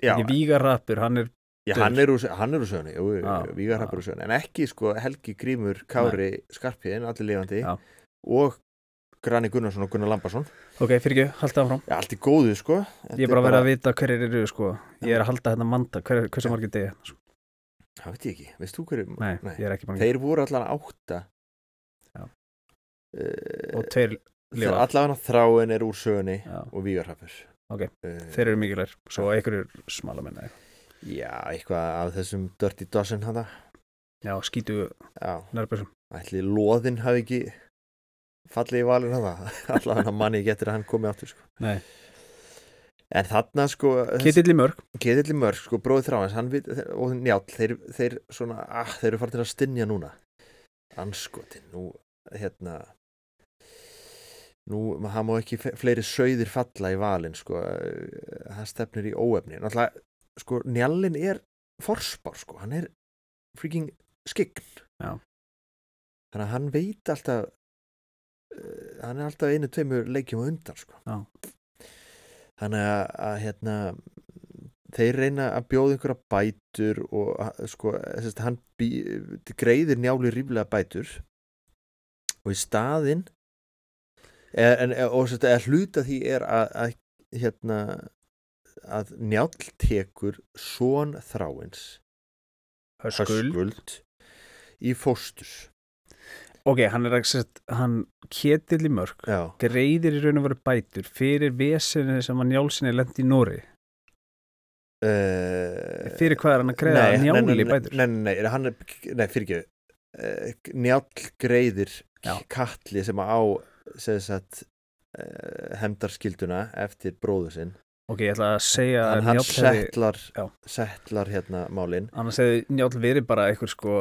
já,
Ekki vígarrappur, hann er,
já, hann er úr hann er úr sögni, jú,
Já,
Vígar Hrappur úr sögni en ekki sko Helgi Grímur Kári Skarpiðin, allir lifandi
Já.
og Grani Gunnarsson og Gunnar Lambarsson
ok, fyrir ekki, halda það fram.
já, allt í góðu sko Þetta
Ég er bara að vera að vita hverjir eru, sko. Ég er að halda hérna manda, hver, hversu
Já.
margir deyja. þarna, Sko.
það veit ég ekki, veist þú hverju
Nei, ég er ekki bara
þeir voru allan átta
Já.
Eh,
Og tveir, lifa.
þeir- allan þráin er úr sögni
já,
og Vígar Hrappur
Ok,
Eh,
þeir eru mikilvægir. Svo einhverjur smala minna.
já, eitthvað af þessum Dirty Dozen hana
Já, skýtu
já
nærbjörnsum.
ætli loðinn hafi ekki fallið í valin að það allavega hann manni ekki eftir að hann komi áttur sko.
Nei.
en þarna sko
Ketill í mörg.
Ketilli Mörg sko bróðið þráins hann við, og njáll þeir, þeir svona ah, þeir eru farin að stinja núna anskotin nú hérna nú hann má ekki fe- fleiri sögðir falla í valin sko eh, hann stefnir í óefni náttúrulega sko njallin er forspár sko hann er freaking skikn
Já.
þannig að hann veit alltaf eh, hann er alltaf einu tveimur leikjum á undan sko
Já.
þannig að, að hérna þeir reyna að bjóða einhverja bætur og að- sko, sérst, hann bý, greiðir njálu ríflega bætur og í staðinn er, en, er, og sérst, er hluta því er að, að hérna að njáll tekur són þráins
Höskuld.
Höskuld í fóstur
Ok, hann er að, sérst, hann ketill í mörg.
já,
Greiðir í raun og veru bætur fyrir vesinni sem að njálsinni lendi í Nóri.
E, uh,
Fyrir hvað er hann að greiða njáli í
nei,
bætur?
Nei, nei, nei, nei, hann er, nei, fyrir ekki uh, Njál greiðir
Já.
kalli sem á sem sagt uh, hemdarskylduna eftir bróður sinn
Ok, ég ætla að segja
en
að
hann
Njáll hefði,
settlar
já.
settlar hérna málin
annars hefði Njáll verið bara einhver sko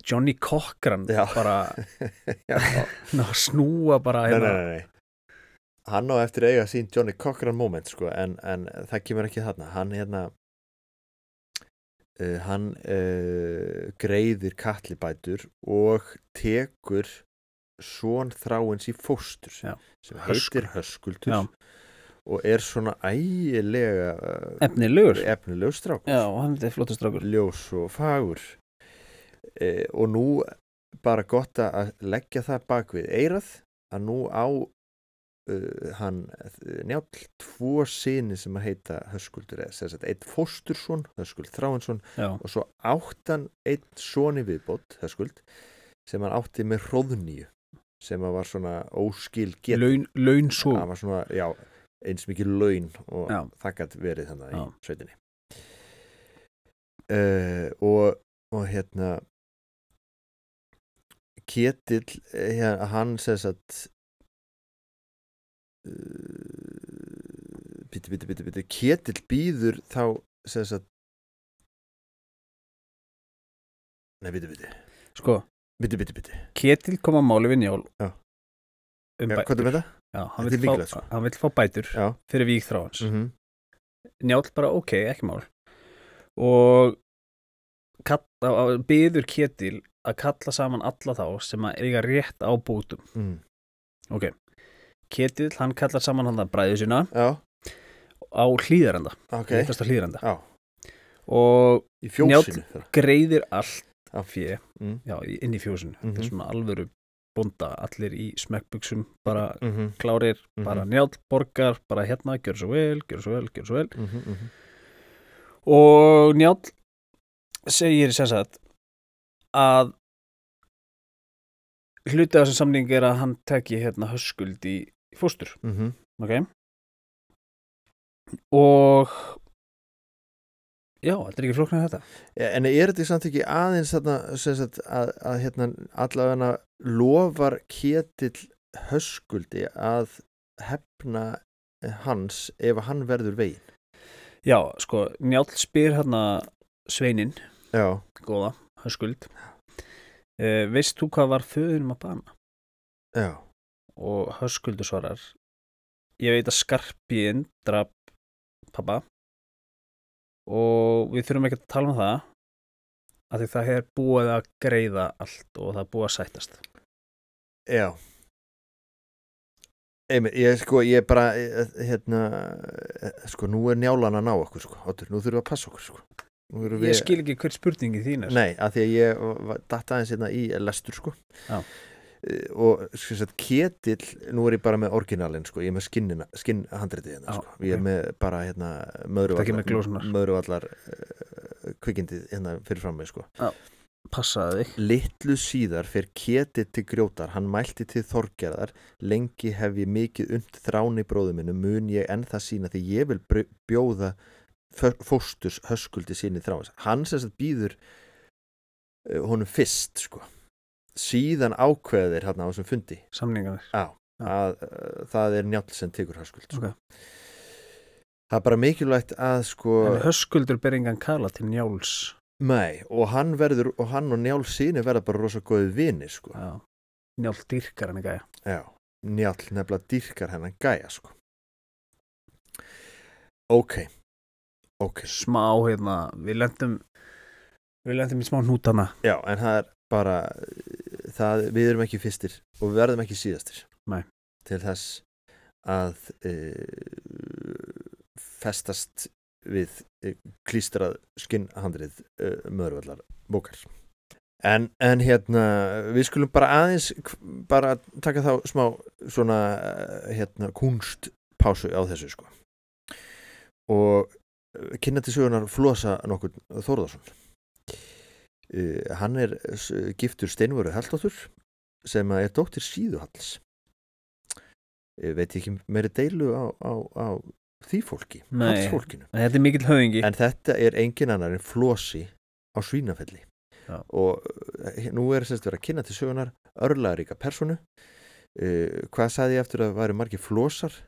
Johnny Cochran
Já.
bara
Já,
ná, snúa bara
nei, nei,
hérna.
nei, nei. Hann á eftir að eiga sín Johnny Cochran moment sko, en, en það kemur ekki þarna Hann hérna uh, Hann uh, greiðir kallibætur og tekur svon þráins í fóstur
Já.
sem
Höskuldur.
heitir Höskuldur
Já.
og er svona ægilega uh,
efnilegur
efnilegur strákur
já, hann er flottur strákur
ljós og fagur e, og nú bara gott að leggja það bak við eirað að nú á uh, hann njáll tvo sinni sem að heita Höskuldur eða sem sagt eitt fóstursson Höskuld Þráinsson
já,
og svo áttan einn soni viðbót Höskuld sem hann átti með hróðnýju sem að var svona óskil get
laun, laun svo
hann var svona, já, eins mikið laun og
Já.
það gætt verið þannig
Já.
í sveitinni uh, og, og hérna Ketill eh, hérna, hann sem sagt eh, bíti, bíti, bíti, bíti Ketill býður þá sem sagt nei, bíti, bíti
sko,
bíti, bíti, bíti
Ketil kom að máli við Njál
Já.
um
hvað er
bætur
með það?
já,
Þetta
hann,
er
vill
mikilvægt,
fá,
sko.
hann vill fá bætur
já,
fyrir vík þráins
mm -hmm.
Njáll bara ok, ekki mál og kall, á, á, byður Ketil að kalla saman alla þá sem að eiga rétt á bótum
Mm.
ok, Ketil hann kallar saman hann að bræðu sína
já,
á hlýðarenda,
ok
hittast á hlýðarenda
já,
og
í fjósinu þeirra
greiðir allt
Já.
fjö,
Mm.
já, í- inn í fjósinu þetta
Mhm.
er svona alvöru bónda, allir í smekkbuksum bara
mm -hmm.
klárir, bara njáll, borgar bara hérna, gjör svo vel, gjör svo vel, gjör svo vel
mm -hmm.
og njáll segir sem sagt að hluti af þessum samning er að hann teki hérna höskuld í, í fóstur
Mm -hmm.
ok og já, þetta er ekki flóknar þetta
E, En er þetta samt ekki aðeins þarna, sem sagt, að, að hérna, allavega lofar Ketill höskuldi að hefna hans ef hann verður vegin
já, sko, Njáll spyr hérna Sveinin,
Já,
góða, höskuld e, veist þú hvað var föðunum að bana?
já,
og höskuldu svarar ég veit að skarpiðin draf pappa og við þurfum ekki að tala um það af því það er búið að greiða allt og það er búið að sættast
já Einmi, ég sko, ég bara eh, hérna, eh, sko, nú er njálan að ná okkur, sko, Otur, nú þurfum við að passa okkur, sko Nú erum
ég skil ekki hver spurningi þín er
Nei, að því að ég var- datt aðeins hérna í lestur sko
Já.
Eh, og sem sagt Ketill nú er ég bara með orginalin sko, ég er með skinnina, skinn handritið hérna
Já,
sko ég er
ok.
með bara hérna
Ertu ekki
möðruvallar
með glósurnar?
möðruvallar uh, kvikindið hérna fyrir fram mig sko
passaði þig
Littlu síðar fyrir Ketill til grjótar, hann mælti til þorgerðar, lengi hef ég mikið und þráni bróðu minnu, mun ég enn það sína því ég vil br- bjóða fö- fósturs höskuldi síni þráins. Hann sem sagt býður uh, honum fyrst, sko. Síðan ákveðir hérna á þessum fundi
samningarnir
að uh, það er njáll sem tekur höskuld. Sko.
okay.
Það er bara mikilvægt að sko...
en höskuldur ber engan kala til njáls
Nei, og hann verður, og hann og njál síni verða bara rosa góði vini, sko.
já. njál dýrkar hann ekki
Já, Njáll nefnilega dýrkar hennan gæja sko Ok, ok
smá hérna, við lendum við lendum í smá nútana
Já, en það er bara eh, það, við erum ekki fyrstir og við verðum ekki síðastir
Nei.
til þess að e, festast við e, klístrað skinnhandrið e, mörgvallar bókar en, en hérna við skulum bara aðeins k- bara taka þá smá svona eh, hérna kunstpásu á þessu sko og eh, kynna til sögunar flosa nokkur Þórðarsson Uh, hann er s- giftur Steinvöru Halldóttur sem að er dóttir Síðuhalls uh, veit ég ekki meiri deilu á, á, á því fólki
Nei.
Hallsfólkinu
en þetta er mikill höfingi
en þetta er engin annar en flosi á svínafelli
Já.
og uh, nú er semst verið að kynna til sögunar örlaðaríka personu uh, hvað sagði ég eftir að það væri margir flosar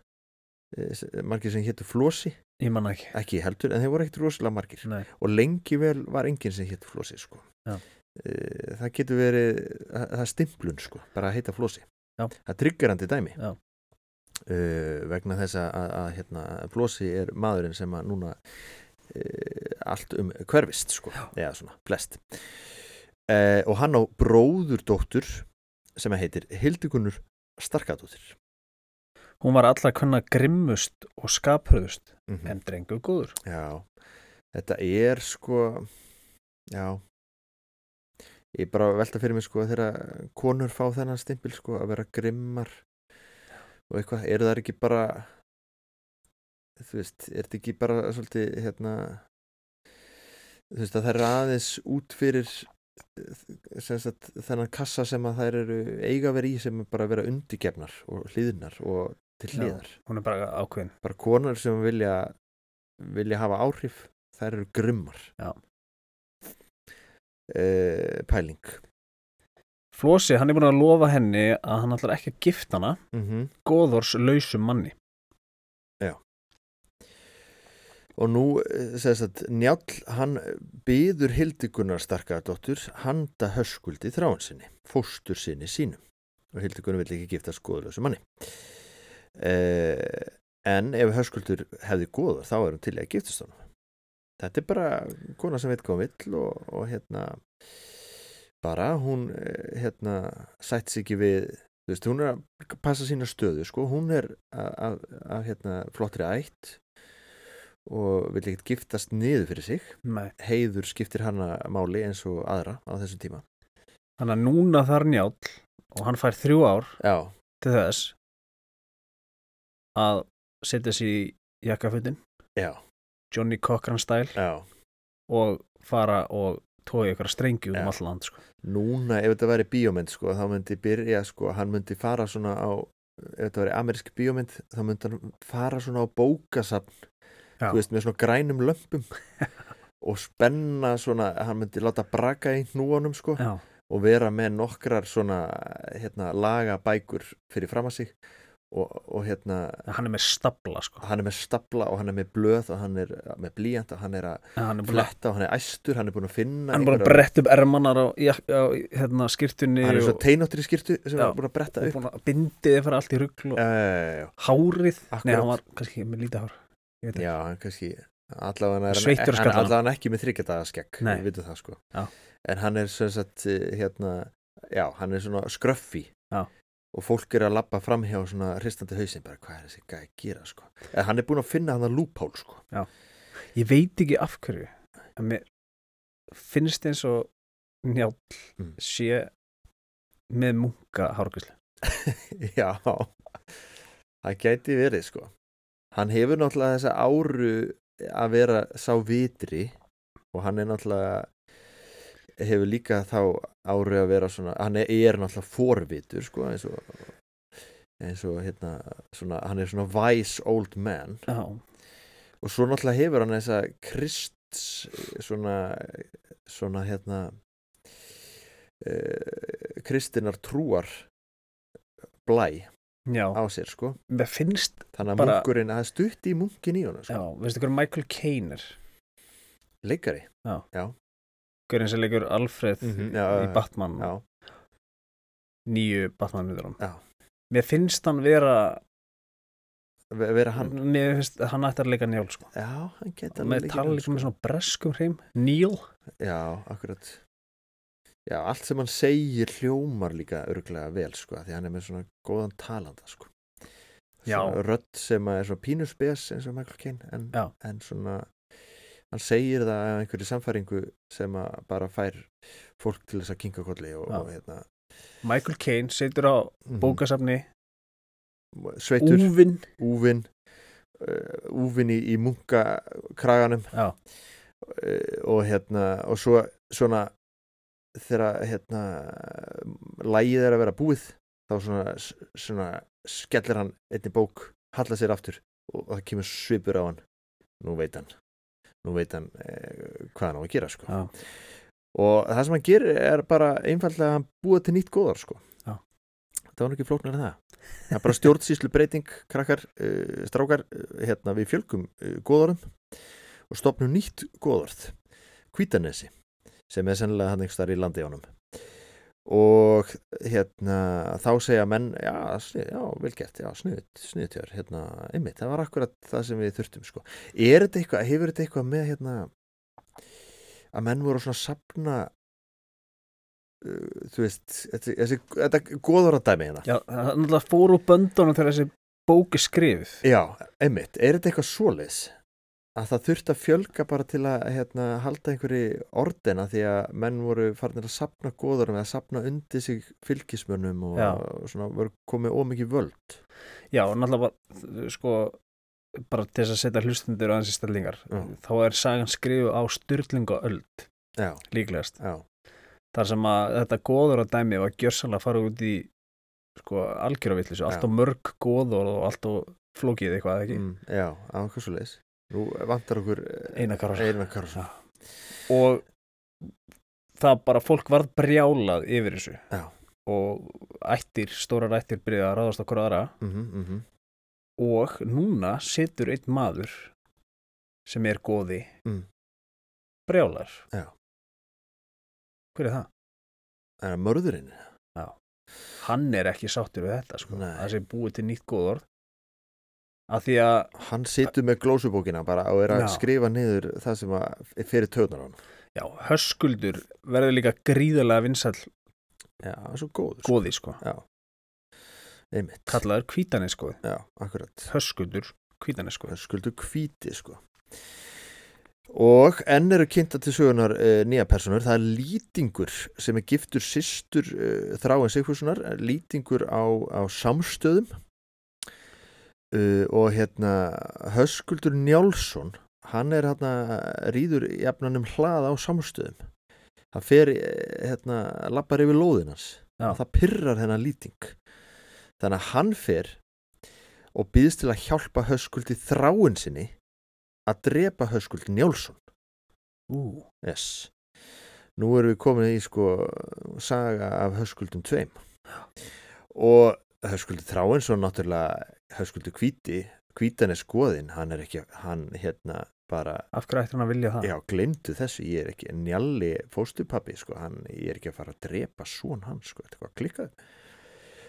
uh, s- margir sem héttu flosi
ég manna ekki
ekki heldur en þeir voru ekkert rosalega margir
Nei.
og lengi vel var enginn sem hétt flosi sko.
Já.
það getur verið það það er stimplun sko, bara að heita flósi
Já.
það tryggur hann til dæmi
Já.
Eh, vegna þess að, að, að hérna, flósi er maðurinn sem að núna uh, allt um hverfist sko, eða svona, flest uh, og hann á bróðurdóttur sem að heitir Hildigunnur Starkadóttir
Hún var allra kunna grimmust og skapröðust
mm
en drengur góður.
Já, þetta er sko, já, ég bara velta fyrir mig sko þegar konur fá þennan stimpil sko að vera grimmar og eitthvað, eru það ekki bara, þú veist, er þetta ekki bara svolítið, hérna, þú veist að það er aðeins út fyrir eh, sem sagt, þennan kassa sem að þær eru eiga að vera í sem er bara að vera undirgefnar og hlýðnar og til
Já.
hliðar
Hún er bara ákveðin.
bara konar sem vilja vilja hafa áhrif þær eru grimmar
Já.
Eh, pæling
Flósi, hann er búin að lofa henni að hann ætlar ekki að gifta hana
mm
góðors lausum manni.
og nú eh, sem sagt, Njáll hann byður Hildigunar starkaðdóttur handa höskuldi þráin sinni fóstur sinni sínum og Hildigunar vill ekki gifta skoðlösu manni eh, en ef höskuldur hefði góður þá er hann til í að giftast honum þetta er bara kona sem veit hvað hún vill og, og hérna bara hún eh, hérna sætt sig ekki við þú veist, hún er að passa sína stöðu sko, hún er af hérna, flottri ætt og vil ekkert giftast niður fyrir sig
Nei.
heiður skiptir hana máli eins og aðra á þessum tíma
Þannig að núna þar njáll og hann fær þrjú ár
já,
til þess að setja sér í jakkafutin,
já,
Johnny Cochran stæl
já
og fara og tói ykkur strengi út
Já.
um allan land sko.
núna ef þetta væri bíómynd sko þá myndi byrja sko, hann myndi fara svona á ef þetta væri amerísk bíómynd þá myndi hann fara svona á bókasafn
Já.
þú veist með svona grænum lömpum og spenna svona hann myndi láta braka í núanum sko
Já,
og vera með nokkrar svona hérna, lagabækur fyrir fram að sig og, og hérna
hann er með stabla sko.
hann er með stapla og hann er með blöð og hann er með blíjant og hann er að
hann er búin að,
fletta og hann er æstur, hann er búin að finna
hann er búin að brett upp ermanar á, jak- á hérna, skirtunni
hann er svo
og,
teinóttir í skirtu sem
Já.
hann er búin að bretta
og
upp
búin að bindið fyrir allt í rugl og
já, já, já,
hárið, nei
Akkurat.
hann var kannski með lítið hár ég veit
já,
ekki,
já, hann kannski allavega hann er
Sveittur
hann,
skallanum.
allavega hann ekki með þryggjadaga skegg
Nei.
við vitum það sko
Já.
en hann er sem sagt eh, hérna, já, hann er svona skröffi
Já.
og fólk er að labba fram hjá svona hristandi hausin bara hvað er þessi gæ að gera sko en hann er búin að finna hann að lúphál sko
ég veit ekki af hverju en mér finnst eins og njáll
Mm.
sé með munka hárgæslu
Já, það gæti verið sko. Hann hefur náttúrulega þessa áru að vera sá vitri og hann er náttúrulega hefur líka þá áru að vera svona, hann er, er náttúrulega forvitur sko, eins og eins og hérna, svona, hann er svona wise old man
já,
og svo náttúrulega hefur hann þessa krist svona, svona hérna uh, kristinar trúar blæ
já,
á sér sko
mér finnst
þannig að
Bara-
munkurinn, að það er stutt í munkin í honum
já,
sko.
veistu hverju Michael Caine er
leikari,
hverjum sem leikur Alfred
Mhm, já, já,
í
já.
Batman,
já,
nýju Batman-myndunum
Já.
mér finnst hann vera
ve- vera hann
mér finnst að hann ætti að leika njál sko.
já, hann geta
hann Mm. með tala
sko.
líka með svona breskum hreim Neil,
já, akkurat já, allt sem hann segir hljómar líka örglega vel sko, af því hann er með svona góðan talanda sko
Já.
Svona rödd sem að er svona pínuspes eins og Michael Caine en,
Já.
en svona hann segir það af einhverju samfæringu sem að bara fær fólk til þess að kinka kolli og,
Já.
og hérna
Michael Caine situr á
mhm,
bókasafni
sveitur,
úvinn
úvin uh, úvin í, í munkakraganum
Já.
Eh, og hérna og svo svona þegar hérna lægið er að vera búið þá svona, svona skellir hann einni bók, hallar sér aftur og, og það kemur svipur á hann nú veit hann nú veit hann eh, hvað hann á að gera sko
Já.
og það sem hann gerir er bara einfallega að hann búa til nýtt góðar sko
Já.
það var nú ekki flóknar en það það er bara stjórnsýslu breyting krakkar, uh, strákar uh, hérna, við fjölgum uh, góðorðum og stopnum nýtt góðorð kvítanesi sem er sennilega hann einhver starf í landi ánum og hérna þá segja menn, já, snið, já velgert já, sniðut, sniðutjör, hérna einmitt, það var akkurat það sem við þurftum sko. er þetta eitthvað, hefur þetta eitthvað með hérna að menn voru svona að sapna uh, þú veist þetta, þessi, þetta góðoradæmi hérna
Já, það er náttúrulega fór úr böndunum þegar þessi bóki skrifið.
já, einmitt, er þetta eitthvað svoleiðs að það þurfti að fjölga bara til að hérna, halda einhverju ordena því að menn voru farinir að sapna góðorum eða sapna undir sig fylgismönnum og,
Já.
og svona voru komið ómikið völd
Já, og náttúrulega bara, sko, bara til þess að setja hlustundur aðeins í stellingar.
Já.
Þá er sagan skrifu á styrlinga öld,
já,
líklegast.
já,
Þar sem að þetta góður að dæmi var gjörsanlega að fara út í sko, algjöravillis, allt
Já.
og mörg góður og allt og flókið eitthvað, eða ekki?
mm, já, á hvað svoleiðs nú vantar okkur
Einar Kárason.
Einar Karlsson
Og það bara, fólk varð brjálað yfir þessu.
Já.
Og ættir, stórar ættir byrjaði að ráðast okkur aðra
mm -hmm, mm -hmm,
og núna situr einn maður sem er góði
Mm.
brjálar
Já.
hver er það?
það er mörðurinn sko.
hann er ekki sáttur við þetta sko.
Nei.
það sé búið til nýtt góðorð að því að
hann situr með glósubókina bara og er að
Já.
skrifa niður það sem að fyrir töðnar hann
já, höskuldur verður líka gríðarlega vinsall
já, það er svo góður
góði sko.
einmitt,
kallaður kvítanesgóði
já, akkurat
höskuldur kvítanesgóði
skuldu hvíti sko og enn eru kynnta til sögunar uh, nýja personur, það er lýtingur sem er giftur sýstur uh, þráin Sigfússonar, lýtingur á, á samstöðum uh, og hérna Höskuldur Njálsson hann er hérna rýður jafnanum hlað á samstöðum hann fer eh, hérna lappar yfir lóðinans
Já.
það pyrrar hennar lýting þannig að hann fer og býðst til að hjálpa Höskuldi þráin sinni að drepa Höskuld Njálsson
ú,
yes. nú erum við komin í sko saga af Höskuldum tveim og Höskuldi þráin svo náttúrulega Höskuldi hvíti hvítan er skoðin, hann er ekki hann hérna bara
af hverju ættir hann að vilja það?
Já, glemdu þessu, ég er ekki njalli fóstupappi, sko, hann, ég er ekki að fara að drepa són hans, sko, þetta var klikkað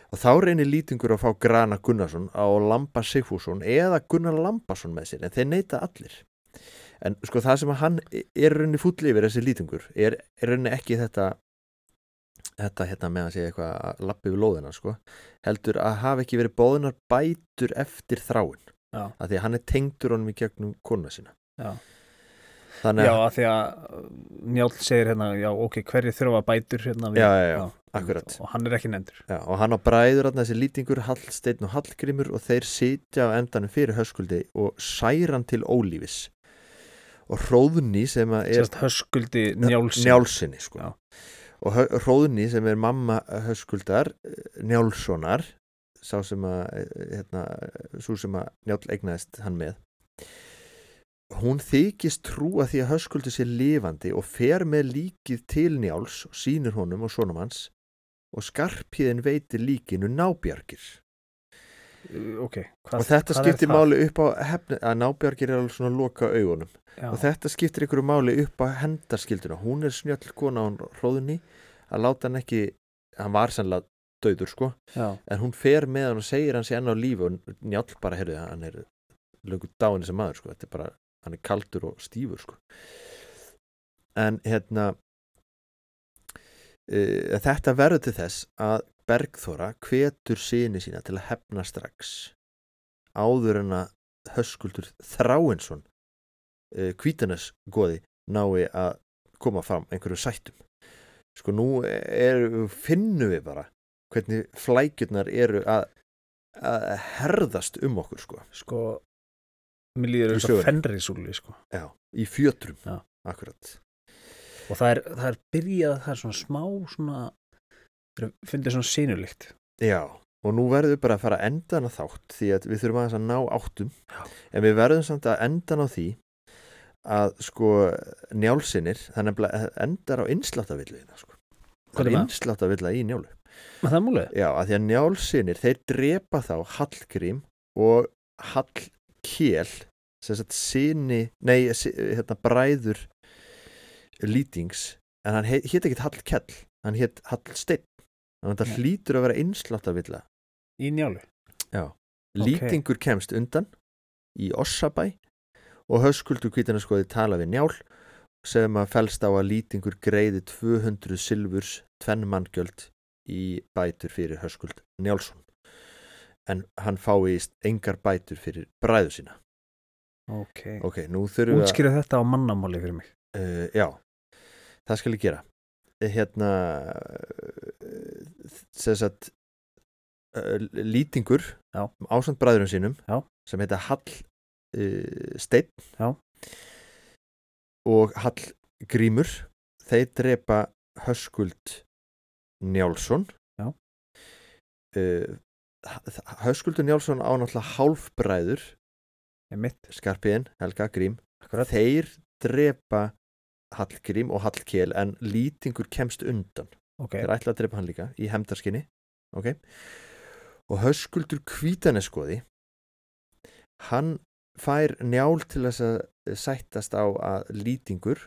og þá reynir lýtingur að fá Grana Gunnarsson á Lamba Sigfússon eða Gunnar Lambason með sér en þeir neyta allir en sko það sem að hann er raunni fúll yfir þessi lýtingur, er, er raunni ekki þetta þetta hérna með að segja eitthvað að lappi við lóðina sko heldur að hafa ekki verið bóðunar bætur eftir þráin
Já.
að því að hann er tengdur honum í gegnum konuna sína
Já.
þannig
já,
að
af því að uh, Njáll segir hérna, já, ok, hverju þurfa bætur hérna við-
Já, já, já, akkurat.
og hann er ekki nefndur
Já, og hann á bræður þarna þessi lýtingur, Hallsteinn og Hallgrimur og þeir sitja á endanum fyrir höskuldi og særan til ólífis og hróðni sem að er
sérst höskuldi njálsinn
njálsinni
Já.
sko. og hö- hróðni sem er mamma höskuldar eh, njálssonar sá sem að eh, hérna, svo sem að njál egnaðist hann með hún þykist trúa því að höskuldi sé lifandi og fer með líkið til njáls og sýnir honum og sonum hans og skarpiðin veitir líkinu nábjargir
Uh, ok, hvað,
og þetta
hvað er
skiptir
það?
máli upp á hefni, að nábjargir er alveg svona að loka augunum
Já,
og þetta skiptir ykkur máli upp á hendarskylduna hún er snjöll kona hún hróðunni að láta hann ekki hann var sannlega döður sko
já,
en hún fer með hann og segir hann sé enn á lífi og njálp bara, heyrðu, hann er löngu dáin sem maður sko, þetta er bara hann er kaldur og stífur sko en hérna uh, þetta verður til þess að Bergþóra hvetur síni sína til að hefna strax áður en að höskuldur Þráinsson uh, kvítanes goði nái að koma fram einhverju sættum sko nú er, finnum við bara hvernig flækjurnar eru að, að herðast um okkur sko
sko mér líður
Í
eins og
sögunni.
fenrisúli sko.
Já. í fjötrum
Já.
akkurat
og það er, það er byrjað það er svona smá svona þeir fundið svona sinulikt
Já, og nú verðum við bara að fara að enda hana þátt því að við þurfum aðeins að ná áttum en við verðum samt að enda hana á því að sko njálsinir, þannig að endar á innslátavillina sko.
Hvað er það?
Innslátavilla í njálu
maður það er múlið?
Já, að því að njálsinir, þeir drepa þá Hallgrím og Hallkél sem sagt sinni, nei, si- hérna bræður lýtings en hann hét, hét ekkit Hallkell hann hét Hallsteinn þannig að þetta
Nei.
hlýtur að vera einsláttavilla
í njálu
Já. Lýtingur kemst undan í Ossabæ og höskuldur kvítarnaskoði tala við njál sem að fælst á að lýtingur greiði 200 silfurs tvenn manngjöld í bætur fyrir höskuld Njálsson en hann fáist engar bætur fyrir bræðu sína
ok,
ok, nú þurfum við að
útskýra þetta á mannamáli fyrir mig
uh, já, það skal ég gera hérna uh, sem sagt uh, lýtingur
Já.
ásamt bræðurum sínum
Já.
sem heita Hall uh, Steinn
Já.
og Hall Grímur þeir drepa Höskuld Njálsson
Já.
Uh, H- Höskuldur Njálsson á náttúrulega hálfbræður
Einmitt,
Skarpiðin, Helga, Grím
akkurat.
þeir drepa Hallgrím og Hallkel en lýtingur kemst undan
ok,
þeir ætla að drepa hann líka í hemdarskinni ok og höskuldur kvítaneskoði hann fær njál til þess að sættast á að lýtingur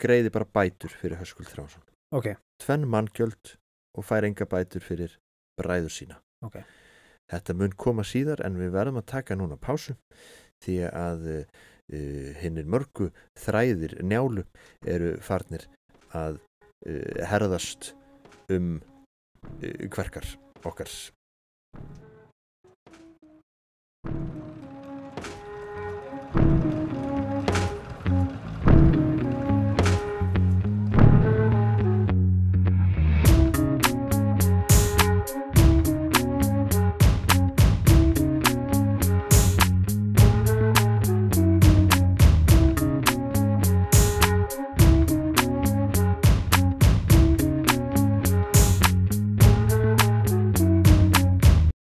greiði bara bætur fyrir höskuld Þránsson
ok,
tvenn manngjöld og fær enga bætur fyrir bræður sína
Ok.
þetta mun koma síðar en við verðum að taka núna pásu því að uh, hinnir mörgu þræðir njálu eru farnir að uh, herðast um eh, uh, hverkar okkar